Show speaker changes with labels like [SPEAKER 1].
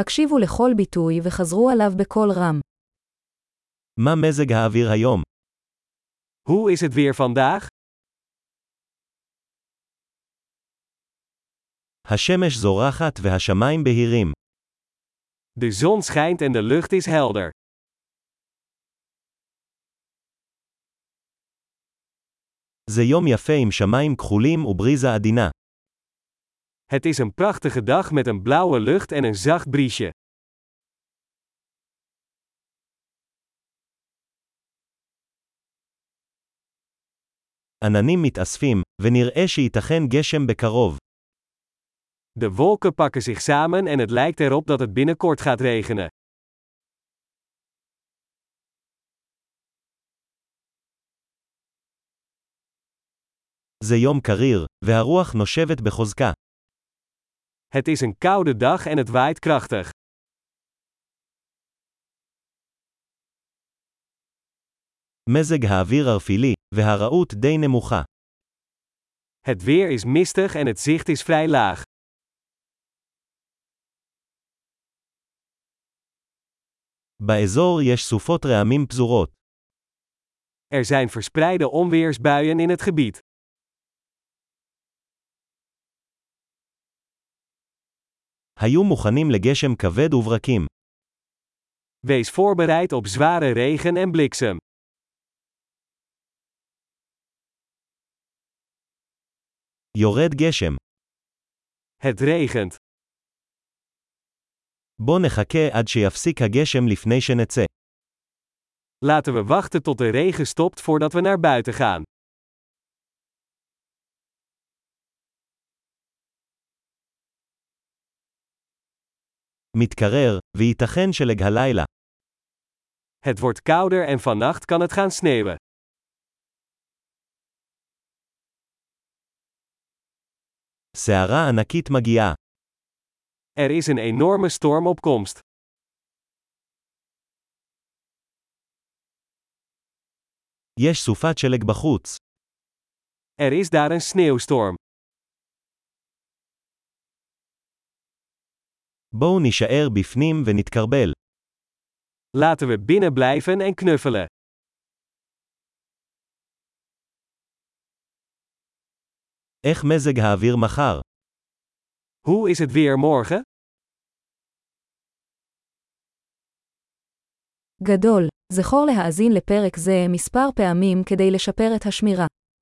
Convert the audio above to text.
[SPEAKER 1] הקשיבו לכל ביטוי וחזרו עליו בקול רם.
[SPEAKER 2] מה מזג האוויר היום?
[SPEAKER 3] Hoe is het weer vandaag?
[SPEAKER 2] השמש זורחת והשמיים בהירים.
[SPEAKER 3] De zon schijnt en de lucht is helder.
[SPEAKER 2] זה יום יפה עם שמיים כחולים ובריזה עדינה.
[SPEAKER 3] Het is een prachtige dag met een blauwe lucht en een zacht briesje.
[SPEAKER 2] עננים מתאספים, ונראה שייתכן גשם בקרוב.
[SPEAKER 3] De wolken pakken zich samen en het lijkt erop dat het binnenkort gaat regenen.
[SPEAKER 2] זה יום קריר, והרוח נושבת בחוזקה.
[SPEAKER 3] Het is een koude dag en het waait krachtig.
[SPEAKER 2] מזג האוויר ערפילי, והרעות די נמוכה.
[SPEAKER 3] Het weer is mistig en het zicht is vrij laag.
[SPEAKER 2] באזור יש סופות רעמים פזורות.
[SPEAKER 3] Er zijn verspreide onweersbuien in het gebied.
[SPEAKER 2] היו מוכנים לגשם כבד וברקים.
[SPEAKER 3] Wees voorbereid op zware regen en bliksem.
[SPEAKER 2] יורד גשם.
[SPEAKER 3] Het regent.
[SPEAKER 2] בוא נחכה עד שיפסיק הגשם לפני שנצא.
[SPEAKER 3] Laten we wachten tot de regen stopt voordat we naar buiten gaan.
[SPEAKER 2] מתקרר, וייתכן שלג הלילה.
[SPEAKER 3] Het wordt kouder en vannacht kan het gaan sneeuwen.
[SPEAKER 2] סערה ענקית מגיעה.
[SPEAKER 3] Er is een enorme storm op komst.
[SPEAKER 2] יש סופת שלג בחוץ.
[SPEAKER 3] Er is daar een sneeuwstorm.
[SPEAKER 2] בואו נישאר בפנים ונתקרבל.
[SPEAKER 3] Laten we binnen blijven en knuffelen.
[SPEAKER 2] איך מזג האוויר מחר?
[SPEAKER 3] Hoe is het weer morgen?
[SPEAKER 1] גדול, זכור להאזין לפרק זה מספר פעמים כדי לשפר את השמירה.